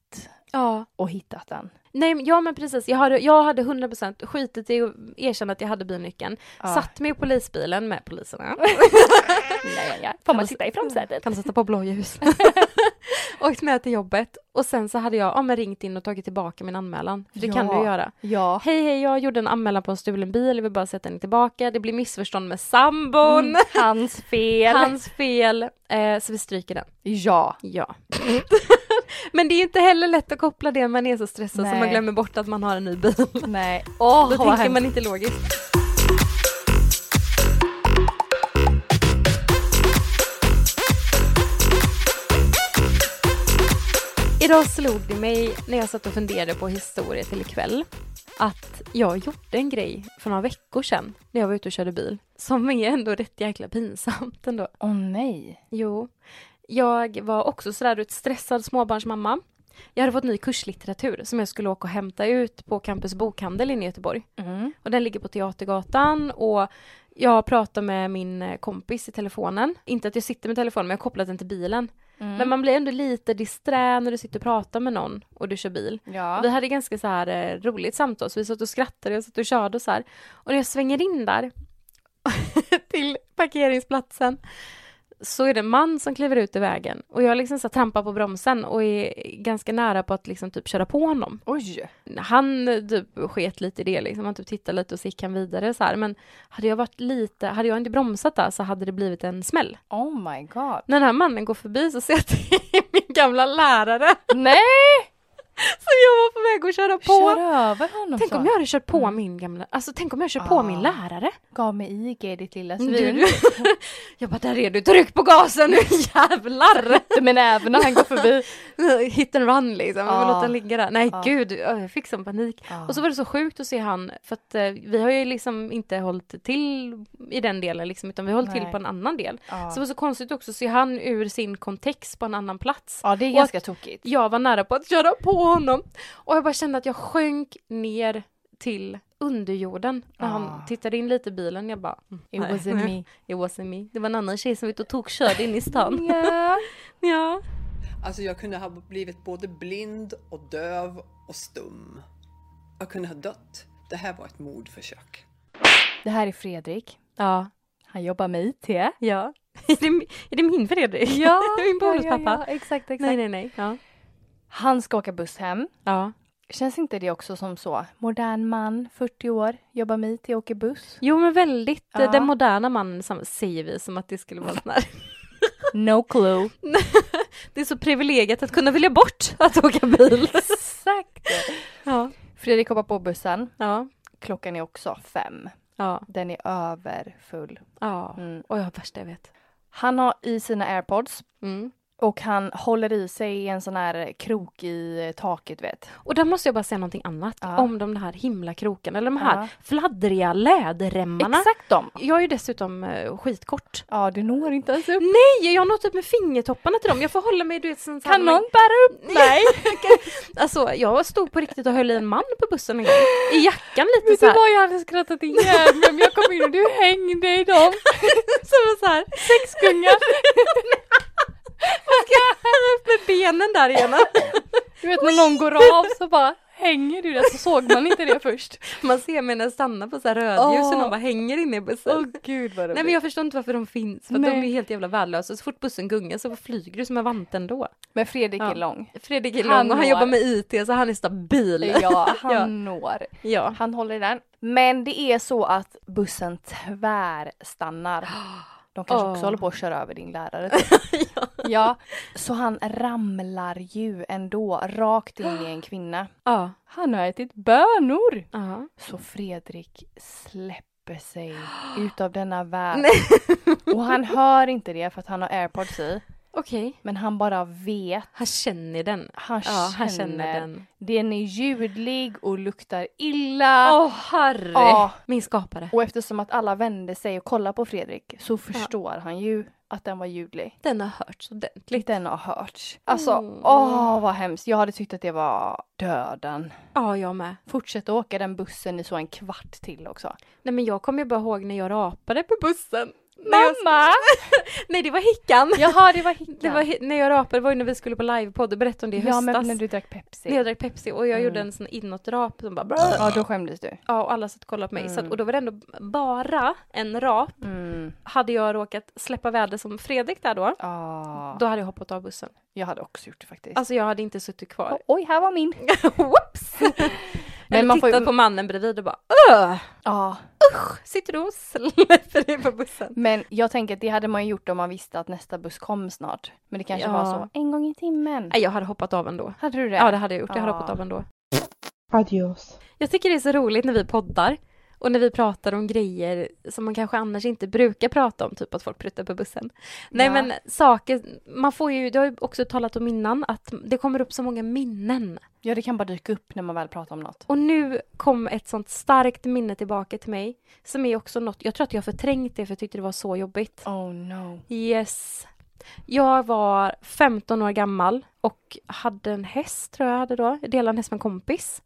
Ja.
och hittat den.
Nej, men- ja men precis. Jag hade, jag hade 100% skitit i att erkänna att jag hade bilnyckeln.
Ja.
Satt mig i polisbilen med poliserna.
Ja, ja, ja. Får man sitta i framsätet?
Kan sätta på blåljus. Åkt med till jobbet och sen så hade jag ja, men ringt in och tagit tillbaka min anmälan. För det kan du
Ja.
göra.
Ja.
Hej hej, jag gjorde en anmälan på en stulen bil, jag vill bara sätta den tillbaka. Det blir missförstånd med sambon.
Mm, Hans fel.
Hans fel, eh, så vi stryker den.
Ja.
Ja. Men det är ju inte heller lätt att koppla det när man är så stressad så
Nej.
man glömmer bort att man har en ny bil.
Nej. Åh,
Då
vad
tänker
hemskt.
man inte logiskt. Idag slog det mig när jag satt och funderade på historia till ikväll att jag gjorde en grej för några veckor sedan när jag var ute och körde bil som är ändå rätt jäkla pinsamt ändå.
Åh nej.
Jo. Jag var också sådär ut stressad småbarnsmamma. Jag hade fått ny kurslitteratur som jag skulle åka och hämta ut på Campus Bokhandel inne i Göteborg.
Mm.
Och den ligger på Teatergatan och jag pratar med min eh, kompis i telefonen. Inte att jag sitter med telefonen men jag har kopplat den till bilen.
Mm.
Men man blir ändå lite disträ när du sitter och pratar med någon och du kör bil.
ja.
Vi hade ganska så här eh, roligt samtal, så vi satt och skrattade och satt och körde och så här. Och när jag svänger in där till parkeringsplatsen så är det en man som kliver ut i vägen och jag liksom så här, trampar på bromsen och är ganska nära på att liksom typ köra på honom.
Oj!
Han eh, typ sket lite i det liksom, han typ tittade lite och så gick han vidare så här. Men hade jag varit lite, hade jag inte bromsat där så hade det blivit en smäll.
Oh my god.
När den här mannen går förbi så ser jag att det är min gamla lärare
Nej!
som jag var på väg att köra på.
Kör över honom
Tänk
så.
om jag hade kört på min gamla, alltså tänk om jag kör på
Ah.
min lärare. Mm.
Gav mig IG ditt lilla
Du-
svin.
jag bara, där är du, tryck på gasen nu jävlar!
Du men även när han går förbi.
Hit and run liksom, jag vill
Ah.
låta den ligga där. Nej
Ah.
gud, jag fick sån panik. Och så var det så sjukt att se han, för att eh, vi har ju liksom inte hållit till i den delen liksom, utan vi har hållit till
Nej.
på en annan del.
ja.
Så det var så konstigt också att se han ur sin kontext på en annan plats.
ja, det är
Och
ganska tokigt.
jag var nära på att köra på honom. Och jag bara kände att jag sjönk ner till underjorden när han
Ah.
tittade in lite i bilen. Jag bara, mm,
It
nej.
wasn't me.
It wasn't me. Det var en annan tjej som var ute och tokkörde in i stan.
Ja.
ja.
Alltså jag kunde ha blivit både blind och döv och stum. Jag kunde ha dött. Det här var ett mordförsök.
Det här är Fredrik.
Ja.
Han jobbar med IT.
Ja. är, det, min- är det min Fredrik? min bonuspappa.
Ja, ja, exakt, exakt.
Nej, nej, nej. Ja.
Han ska åka buss hem.
ja.
Känns inte det också som så? Modern man, 40 år, jobbar med IT, åker buss.
Jo, men väldigt. eh,
Ja.
Den moderna mannen som, säger vi som att det skulle vara sån här.
No clue.
Det är så privilegiet att kunna vilja bort att åka bil.
Exakt.
Ja.
Fredrik hoppar på bussen.
Ja.
Klockan är också fem.
Ja.
Den är överfull.
Ja.
Mm.
Oj, vad värsta jag vet.
Han har i sina airpods
Mm.
och han håller i sig i en sån här krok i eh, taket vet.
Och där måste jag bara säga någonting annat
Ja.
om de här himla krokarna, eller de här
Ja.
fladdriga läderremmarna.
Exakt dem.
Jag är ju dessutom eh, skitkort.
Ja, du når inte ens upp.
Nej, jag når typ med fingertopparna till dem. Jag får hålla mig, du vet, som
Kan någon bära upp?
Nej! alltså, jag stod på riktigt och höll i en man på bussen en gång. I jackan lite
Vet
så
du
här.
vad jag hade skrattat ihjäl mig om jag kom in och du hängde i dem?
Som så här.
Sexgungan.
Ska jag höra upp med benen där igen?
Du vet när någon går av så bara hänger du där så såg man inte det först.
Man ser mig när jag stannar på så här rödljus och
Åh.
någon bara hänger inne i bussen.
gud vad
Nej men jag förstår inte varför de finns, för att de
Nej.
är ju helt jävla värdelösa. Så fort bussen gungar så flyger du som en vante ändå.
Men Fredrik
Ja.
är lång.
Fredrik är lång
Han
och han
når.
jobbar med IT så han är stabil.
Ja, han
Ja.
når.
ja.
Han håller i den. Men det är så att bussen tvärstannar. De kanske
Åh.
också håller på att köra över din lärare. typ. ja. Så han ramlar ju ändå rakt in i en kvinna.
Ja.
Han har ätit bönor!
Ja.
Så Fredrik släpper sig utav denna värld. Och han hör inte det för att han har airpods i.
Okej.
Men han bara vet.
Han känner den.
Han,
Ja,
känner.
han känner den.
Den är ljudlig och luktar illa.
Åh herre!
Ja.
Min skapare.
Och eftersom att alla vände sig och kollade på Fredrik så förstår han ju att den var ljudlig.
Den har hörts ordentligt.
Den har hörts. Alltså,
Mm.
åh vad hemskt. Jag hade tyckt att det var döden.
Ja, jag med.
Fortsätt att åka den bussen i så en kvart till också.
Nej men jag kommer ju bara ihåg när jag rapade på bussen. När jag-
Mamma!
Nej det var hickan!
Jaha, det var hickan.
Det var, hi- när jag rapade var ju när vi skulle på livepodd, berätta om det i
Ja,
höstas.
men när du Mm. drack Pepsi.
När jag drack Pepsi och jag gjorde en sån inåtrap som bara brr.
Ja, då skämdes du.
Ja och alla satt och kollade på mig. Så att, och då var det ändå bara en rap.
Mm.
Hade jag råkat släppa väder som Fredrik där då,
Ah,
då hade jag hoppat av bussen.
jag hade också gjort det faktiskt.
Alltså jag hade inte suttit kvar.
oj, här var min.
Whoops! Men
man
man
får ju-
tittat på mannen bredvid och bara Öh!
Ja,
Sitter du och släpper dig på bussen?
men jag tänker att det hade man ju gjort om man visste att nästa buss kom snart. Men det kanske
Ja.
var så en gång i timmen.
Nej jag hade hoppat av ändå.
Hade du det?
Ja det hade jag gjort, jag hade
Ja.
hoppat av ändå.
Adios.
Jag tycker det är så roligt när vi poddar och när vi pratar om grejer som man kanske annars inte brukar prata om, typ att folk pruttar på bussen. Nej
Ja.
men saker, man får ju, det har ju också talat om innan, att det kommer upp så många minnen.
Ja, det kan bara dyka upp när man väl pratar om något.
Och nu kom ett sånt starkt minne tillbaka till mig som är också något, jag tror att jag har förträngt det för jag tyckte det var så jobbigt.
Oh no.
Yes. Jag var 15 år
Mm-hmm.
gammal och hade en häst tror jag hade då, jag delade en häst med en kompis.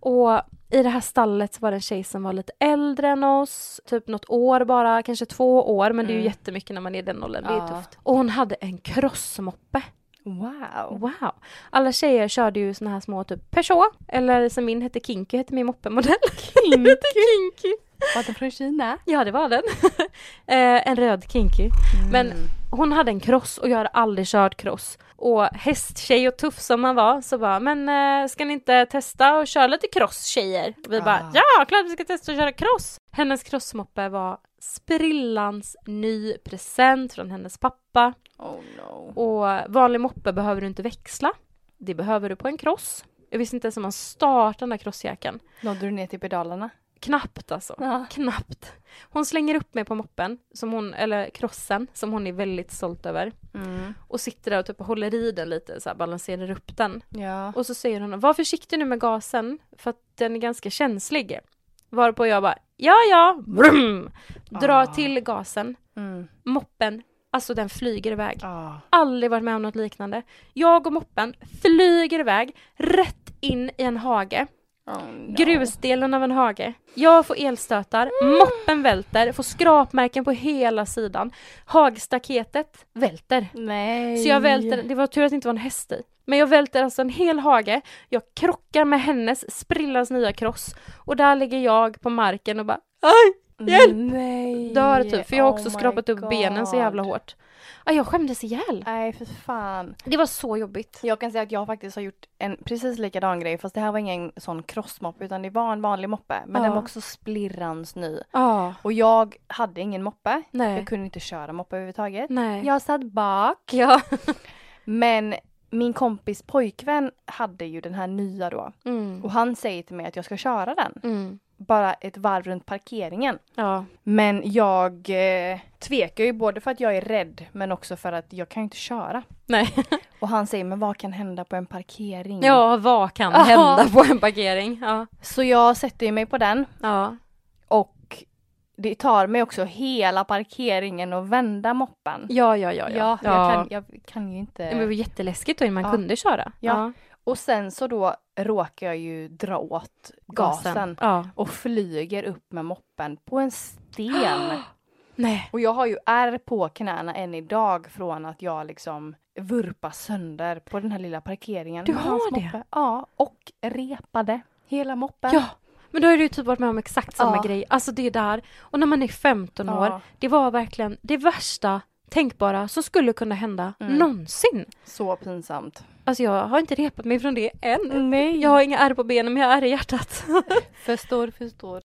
Och I det här stallet så var det en tjej som var lite äldre än oss, typ något år bara, kanske två år, men det är ju
Mm.
jättemycket när man är i den åldern, det
Ja.
är tufft. Och hon hade en krossmoppe.
Wow.
Wow! Alla tjejer körde ju såna här små typ Peugeot, eller som min hette Kinky, hette min moppemodell. Kinky? kinky.
Var den från Kina?
Ja, det var den. eh, en röd Kinky.
Mm.
Men hon hade en cross och jag hade aldrig kört cross. Och hästtjej och tuff som man var så bara, men eh, ska ni inte testa och köra lite cross tjejer? Vi bara,
Ah.
ja klart vi ska testa att köra cross! Hennes crossmoppe var sprillans ny present från hennes pappa.
Oh no.
Och vanlig moppe behöver du inte växla. Det behöver du på en cross. Jag visste inte ens om man startar den där crossjäkeln.
Nådde du ner till pedalerna?
Knappt alltså.
Ja.
Knappt. Hon slänger upp mig på moppen, som hon, eller crossen, som hon är väldigt stolt över
Mm.
och sitter där och typ håller i den lite, så här, balanserar upp den.
Ja.
Och så säger hon, var försiktig nu med gasen, för att den är ganska känslig. Varpå jag bara, ja ja, brum, drar
Ah.
till gasen,
Mm.
moppen, alltså den flyger iväg.
Ah.
Aldrig varit med om något liknande. Jag och moppen flyger iväg, rätt in i en hage.
Oh, no.
Grusdelen av en hage. Jag får elstötar,
Mm.
moppen välter, får skrapmärken på hela sidan. Hagstaketet välter.
Nej.
Så jag välter, det var tur att det inte var en häst i. Men jag välter alltså en hel hage, jag krockar med hennes, sprillans nya kross. Och där ligger jag på marken och bara Aj! Hjälp!
Nej.
Dör typ, för jag har också
Oh my
skrapat upp benen så jävla
God.
hårt. Ja, jag skämdes ihjäl.
Nej, för fan.
Det var så jobbigt.
Jag kan säga att jag faktiskt har gjort en precis likadan grej fast det här var ingen sån crossmoppe utan det var en vanlig moppe. Men den
Ja.
var också splirrans ny.
Ja.
Och jag hade ingen moppe.
Ah. Nej.
Jag kunde inte köra moppe överhuvudtaget.
Nej.
Jag satt bak.
Ja.
Men min kompis pojkvän hade ju den här nya då.
Mm.
Och han säger till mig att jag ska köra den.
Mm.
Bara ett varv runt parkeringen.
Ja.
Men jag eh, tvekar ju både för att jag är rädd men också för att jag kan ju inte köra.
Nej.
Och han säger men vad kan hända på en parkering?
Ja, vad kan
Ja.
hända på en parkering? Ja.
Så jag sätter ju mig på den
Ja.
och det tar mig också hela parkeringen att vända moppen.
Ja, ja, ja.
Ja, jag kan, jag kan ju
Men det var
inte.
jätteläskigt då, man
Ja.
kunde köra.
Ja. Och sen så då råkar jag ju dra åt gasen,
Ja.
och flyger upp med moppen på en sten.
Nej.
och jag har ju ärr på knäna än idag från att jag liksom vurpa sönder på den här lilla parkeringen.
Du
med
har
hans
det?
moppe. Ja, och repade hela moppen.
Ja, men då har du ju typ varit med om exakt samma
Ja.
grej. Alltså det är där, och när man är 15
Ja.
år, det var verkligen det värsta tänkbara som skulle kunna hända
Mm.
någonsin.
Så pinsamt.
Alltså jag har inte repat mig från det än.
Nej.
Jag har inga ärr på benen men jag har ärr i hjärtat.
Förstår, förstår.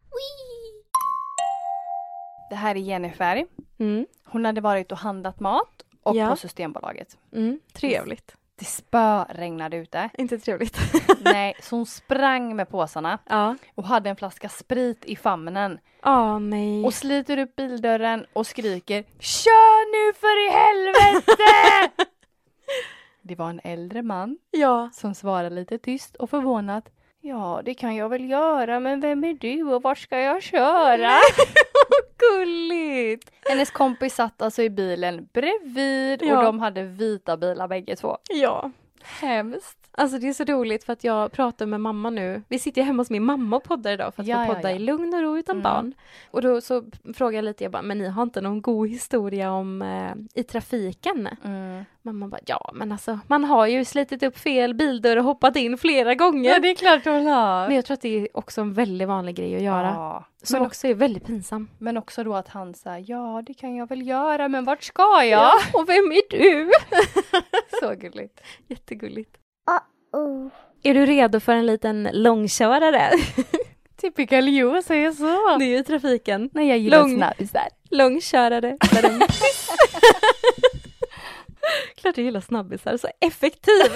Det här är Jennifer.
Mm.
Hon hade varit och handlat mat och
Ja.
på Systembolaget.
Mm. Trevligt.
Det spöregnade ute.
Inte trevligt.
Nej, så hon sprang med påsarna
ja.
och hade en flaska sprit i famnen
Ja, nej.
och sliter upp bildörren och skriker Kör nu för i helvete! det var en äldre man
ja.
som svarade lite tyst och förvånat Ja, det kan jag väl göra, men vem är du och var ska jag köra?
Gulligt.
Hennes kompis satt alltså i bilen bredvid
Ja.
och de hade vita bilar bägge två.
Ja.
Hemskt.
Alltså det är så roligt för att jag pratar med mamma nu. Vi sitter ju hemma hos min mamma och poddar idag för att
Ja,
få
ja,
podda
ja.
i lugn och ro utan
Mm.
barn. Och då så frågar jag lite, jag bara, men ni har inte någon god historia om eh, i trafiken?
Mm.
Mamma bara, ja men alltså man har ju slitit upp fel bildörr och hoppat in flera gånger.
är klart hon
Men
har.
jag tror att det är också en väldigt vanlig grej att göra.
Ja.
Som
Men-
också är väldigt pinsam.
Men också då att han säger ja det kan jag väl göra men vart ska jag?
Och vem är du?
Så gulligt.
Jättegulligt. Är du redo för en liten långkörare?
Typical you säger så.
Det är ju trafiken.
Nej jag gillar
Lång-
snabbisar.
Långkörare. Klart jag gillar snabbisar, så effektiv.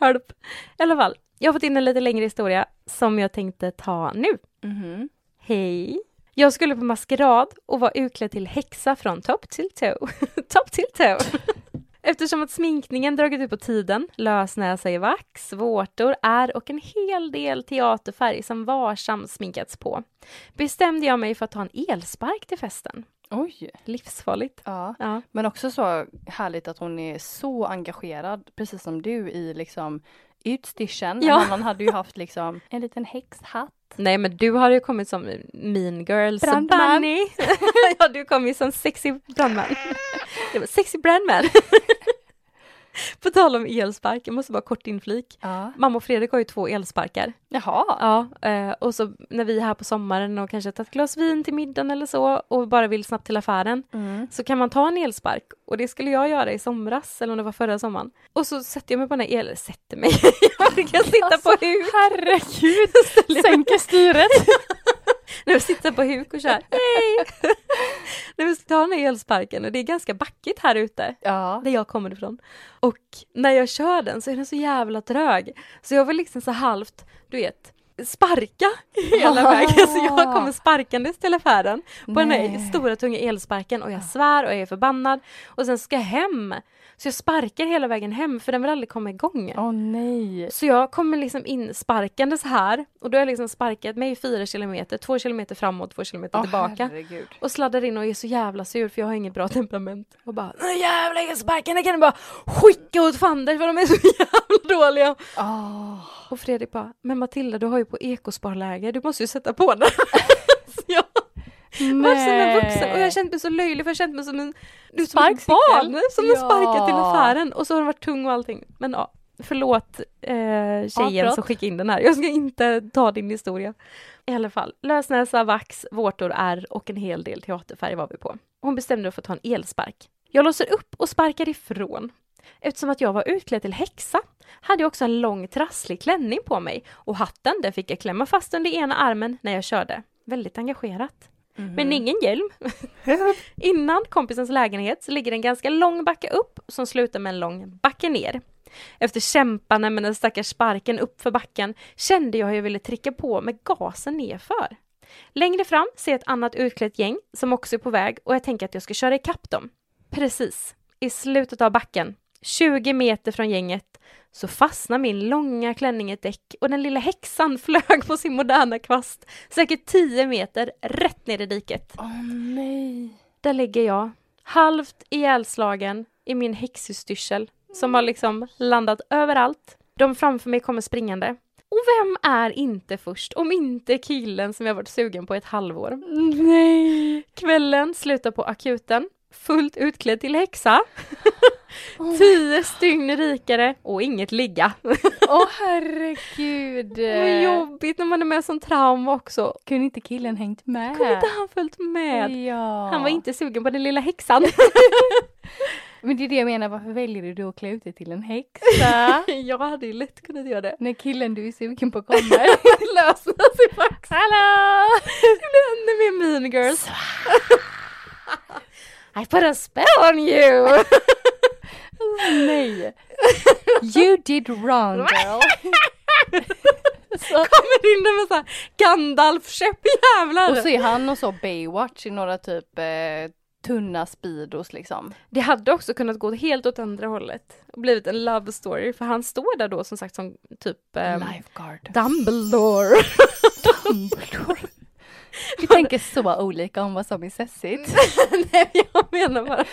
Hörp. I alla fall, jag har fått in en lite längre historia som jag tänkte ta nu.
Mhm.
Hej! Jag skulle på maskerad och var utklädd till häxa från topp till tå. topp till tå! Eftersom att sminkningen dragit ut på tiden, lösnäsa i vax, vårtor, är och en hel del teaterfärg som varsamt sminkats på, bestämde jag mig för att ta en elspark till festen.
Oj.
Livsfarligt.
Ja.
Ja.
Men också så härligt att hon är så engagerad precis som du i liksom ut styrseln.
Ja.
En annan hade ju haft liksom en liten häxhatt.
Nej men du har ju kommit som mean girls
Brandman.
bunny. ja du kom ju som sexy brandman. Jag bara, sexy brandman. På tal om elspark, jag måste bara kort inflik.
Ja.
Mamma och Fredrik har ju två elsparkar.
Jaha.
Ja, eh, och så när vi är här på sommaren och kanske har tagit ett glas vin till middagen eller så och bara vill snabbt till affären
Mm.
så kan man ta en elspark och det skulle jag göra i somras eller om det var förra sommaren. Och så sätter jag mig på den här el... Sätter mig? jag kan sitta på huk.
Herregud,
Ställer mig-
sänker styret.
När vi sitter på huk och kör. Hej! När vi tar den här elsparken och det är ganska backigt här ute.
Ja.
Där jag kommer ifrån. Och när jag kör den så är den så jävla trög. Så jag vill liksom så halvt, du vet, sparka hela
Ah.
vägen. Så jag kommer sparkandes till affären på den här
Nej.
stora tunga elsparken och jag svär och jag är förbannad. Och sen ska jag hem. Så jag sparkar hela vägen hem för den vill aldrig komma igång.
Åh nej.
Så jag kommer liksom in sparkandes här och då har jag liksom sparkat mig fyra kilometer, två kilometer framåt, två kilometer
Åh,
tillbaka.
herregud.
Och sladdar in och är så jävla sur för jag har inget bra temperament. Och bara "Nu jävla jag sparkar, den kan du bara skicka åt fanders för de är så jävla dåliga.
Åh.
Och Fredrik bara, men Matilda du har ju på ekosparläger, du måste ju sätta på den. så jag var som en vuxen och jag kände mig så löjlig för jag kände mig som en du, som ett
Sparkcykel.
barn som har sparkat till
Ja.
affären och så har den varit tung och allting. Men ja, förlåt eh, tjejen
Avbrott.
som skickade in den här. Jag ska inte ta din historia. I alla fall, lösnäsa, vax, vårtor, ärr och en hel del teaterfärg var vi på. Hon bestämde för att ta en elspark. Jag låser upp och sparkar ifrån. Eftersom att jag var utklädd till häxa hade jag också en lång trasslig klänning på mig och hatten den fick jag klämma fast under ena armen när jag körde. Väldigt engagerat. Men ingen hjälm. Innan kompisens lägenhet så ligger en ganska lång backe upp som slutar med en lång backe ner. Efter kämpande med den stackars sparken upp för backen kände jag hur jag ville trycka på med gasen nerför. Längre fram ser jag ett annat utklätt gäng som också är på väg och jag tänker att jag ska köra ikapp dem. Precis, i slutet av backen, 20 meter från gänget, så fastnar min långa klänning i ett däck och den lilla häxan flög på sin moderna kvast säkert 10 meter rätt ner i diket.
Åh nej.
Där ligger jag, halvt ihjälslagen i min häxhystyrsel som har liksom landat överallt. De framför mig kommer springande. Och vem är inte först om inte killen som jag varit sugen på i ett halvår?
Nej.
Kvällen slutar på akuten, fullt utklädd till häxa, Oh. tio stygn rikare och inget ligga. Eh,
Åh herregud.
Vad jobbigt när man är med som trauma också.
Kunde inte killen hängt med?
Kunde inte han följt med?
Ja.
Han var inte sugen på den lilla häxan.
Men det är det jag menar, varför väljer du då att klä ut dig till en häxa?
Jag hade ju lätt kunnat göra det.
När killen du är sugen på kommer.
lösna sig faktiskt.
Hallå!
Det blir ännu mer mean girls. I put a spell on you!
Nej. You did wrong girl.
Kommer in där med såhär Gandalf-käpp jävlar!
Och så är han och så Baywatch i några typ eh, tunna speedos liksom.
det hade också kunnat gå helt åt andra hållet och blivit en love story för han står där då som sagt som typ ehm,
Lifeguard. Mm.
Dumbledore.
Vi tänker så olika om vad som är sessigt.
Nej jag menar bara.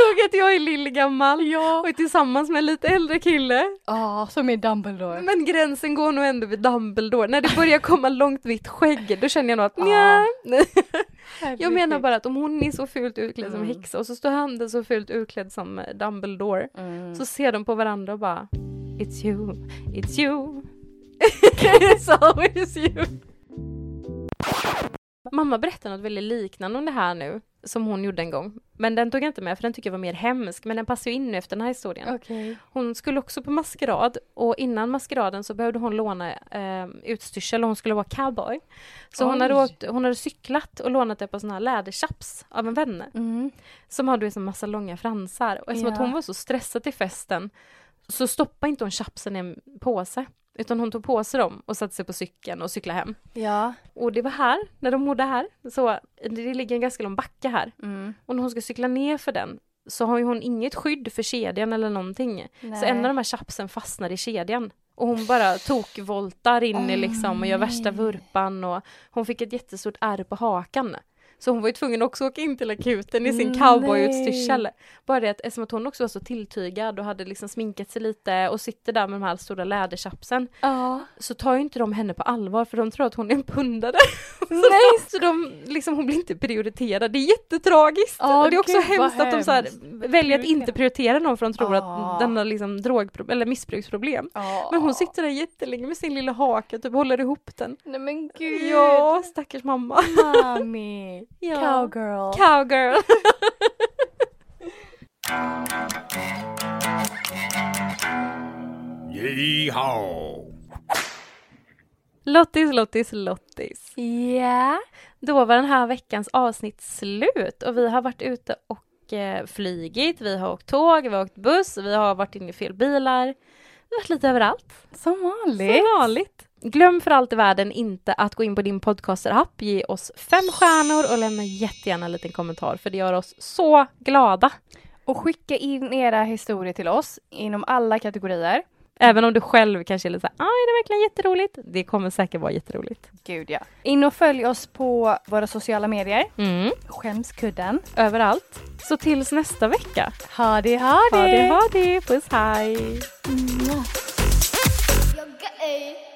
Nog att jag är lillgammal och är tillsammans med en lite äldre kille
Ja, som är Dumbledore.
Men gränsen går nog ändå vid Dumbledore. När det börjar komma långt vitt skägg, då känner jag nog att
Ja.
nja. Jag menar bara att om hon är så fult utklädd som
Mm.
häxa och så står han där så fult utklädd som eh, Dumbledore.
Mm.
Så ser de på varandra och bara It's you, it's you. it's always you. Mamma berättade något väldigt liknande om det här nu, som hon gjorde en gång. Men den tog jag inte med för den tycker jag var mer hemsk, men den passar ju in nu efter den här historien.
Okej.
Hon skulle också på maskerad och innan maskeraden så behövde hon låna eh, utstyrsel och hon skulle vara cowboy. Så hon
Oj.
hade, åkt, hon hade cyklat och lånat ett par sådana här läderchaps av en vän
Mm.
som hade en massa långa fransar. Och eftersom att
Ja.
hon var så stressad till festen så stoppade inte hon chapsen i en påse utan hon tog på sig dem och satte sig på cykeln och cyklade hem.
Ja.
Och det var här, när de bodde här, så det ligger en ganska lång backe här.
Mm.
Och när hon ska cykla ner för den så har ju hon inget skydd för kedjan eller någonting. Så
Nej.
en av de här chapsen fastnar i kedjan. Och hon bara tokvoltar in i liksom och gör värsta vurpan och hon fick ett jättestort ärr på hakan. Så hon var ju tvungen också åka in till akuten i sin
Mm, Nej.
cowboyutstyrsel. Bara det att eftersom att hon också var så tilltygad och hade liksom sminkat sig lite och sitter där med de här stora läderchapsen
Ja.
så tar ju inte de henne på allvar för de tror att hon är en pundare. Så,
Nej.
så de, liksom, hon blir inte prioriterad. Det är jättetragiskt.
Ja,
och det är också
gud, vad
hemskt att de så här,
hemskt.
väljer att inte prioritera någon för de tror
Ja.
att den har liksom drogpro- eller missbruksproblem. Men hon sitter där jättelänge med sin lilla haka typ håller ihop den.
Nej men gud.
Ja, stackars mamma.
Mami.
Ja.
Cowgirl.
Cowgirl.
Yeehaw!
Lottis, Lottis, Lottis.
Ja.
Då var den här veckans avsnitt slut och vi har varit ute och eh, flygit, vi har åkt tåg, vi har åkt buss, vi har varit inne i fel bilar. Vi har varit lite överallt.
Som vanligt.
Som vanligt. Glöm för allt i världen inte att gå in på din podcaster-app, ge oss fem stjärnor och lämna jättegärna en liten kommentar för det gör oss så glada.
Och skicka in era historier till oss inom alla kategorier.
Även om du själv kanske är lite såhär, "Ah, är det verkligen jätteroligt? Det kommer säkert vara jätteroligt.
Gud ja. In och följ oss på våra sociala medier.
Mm.
Skämskudden.
Överallt. Så tills nästa vecka.
Ha det, ha det.
Ha det, ha det. Puss, hej.
You're gay.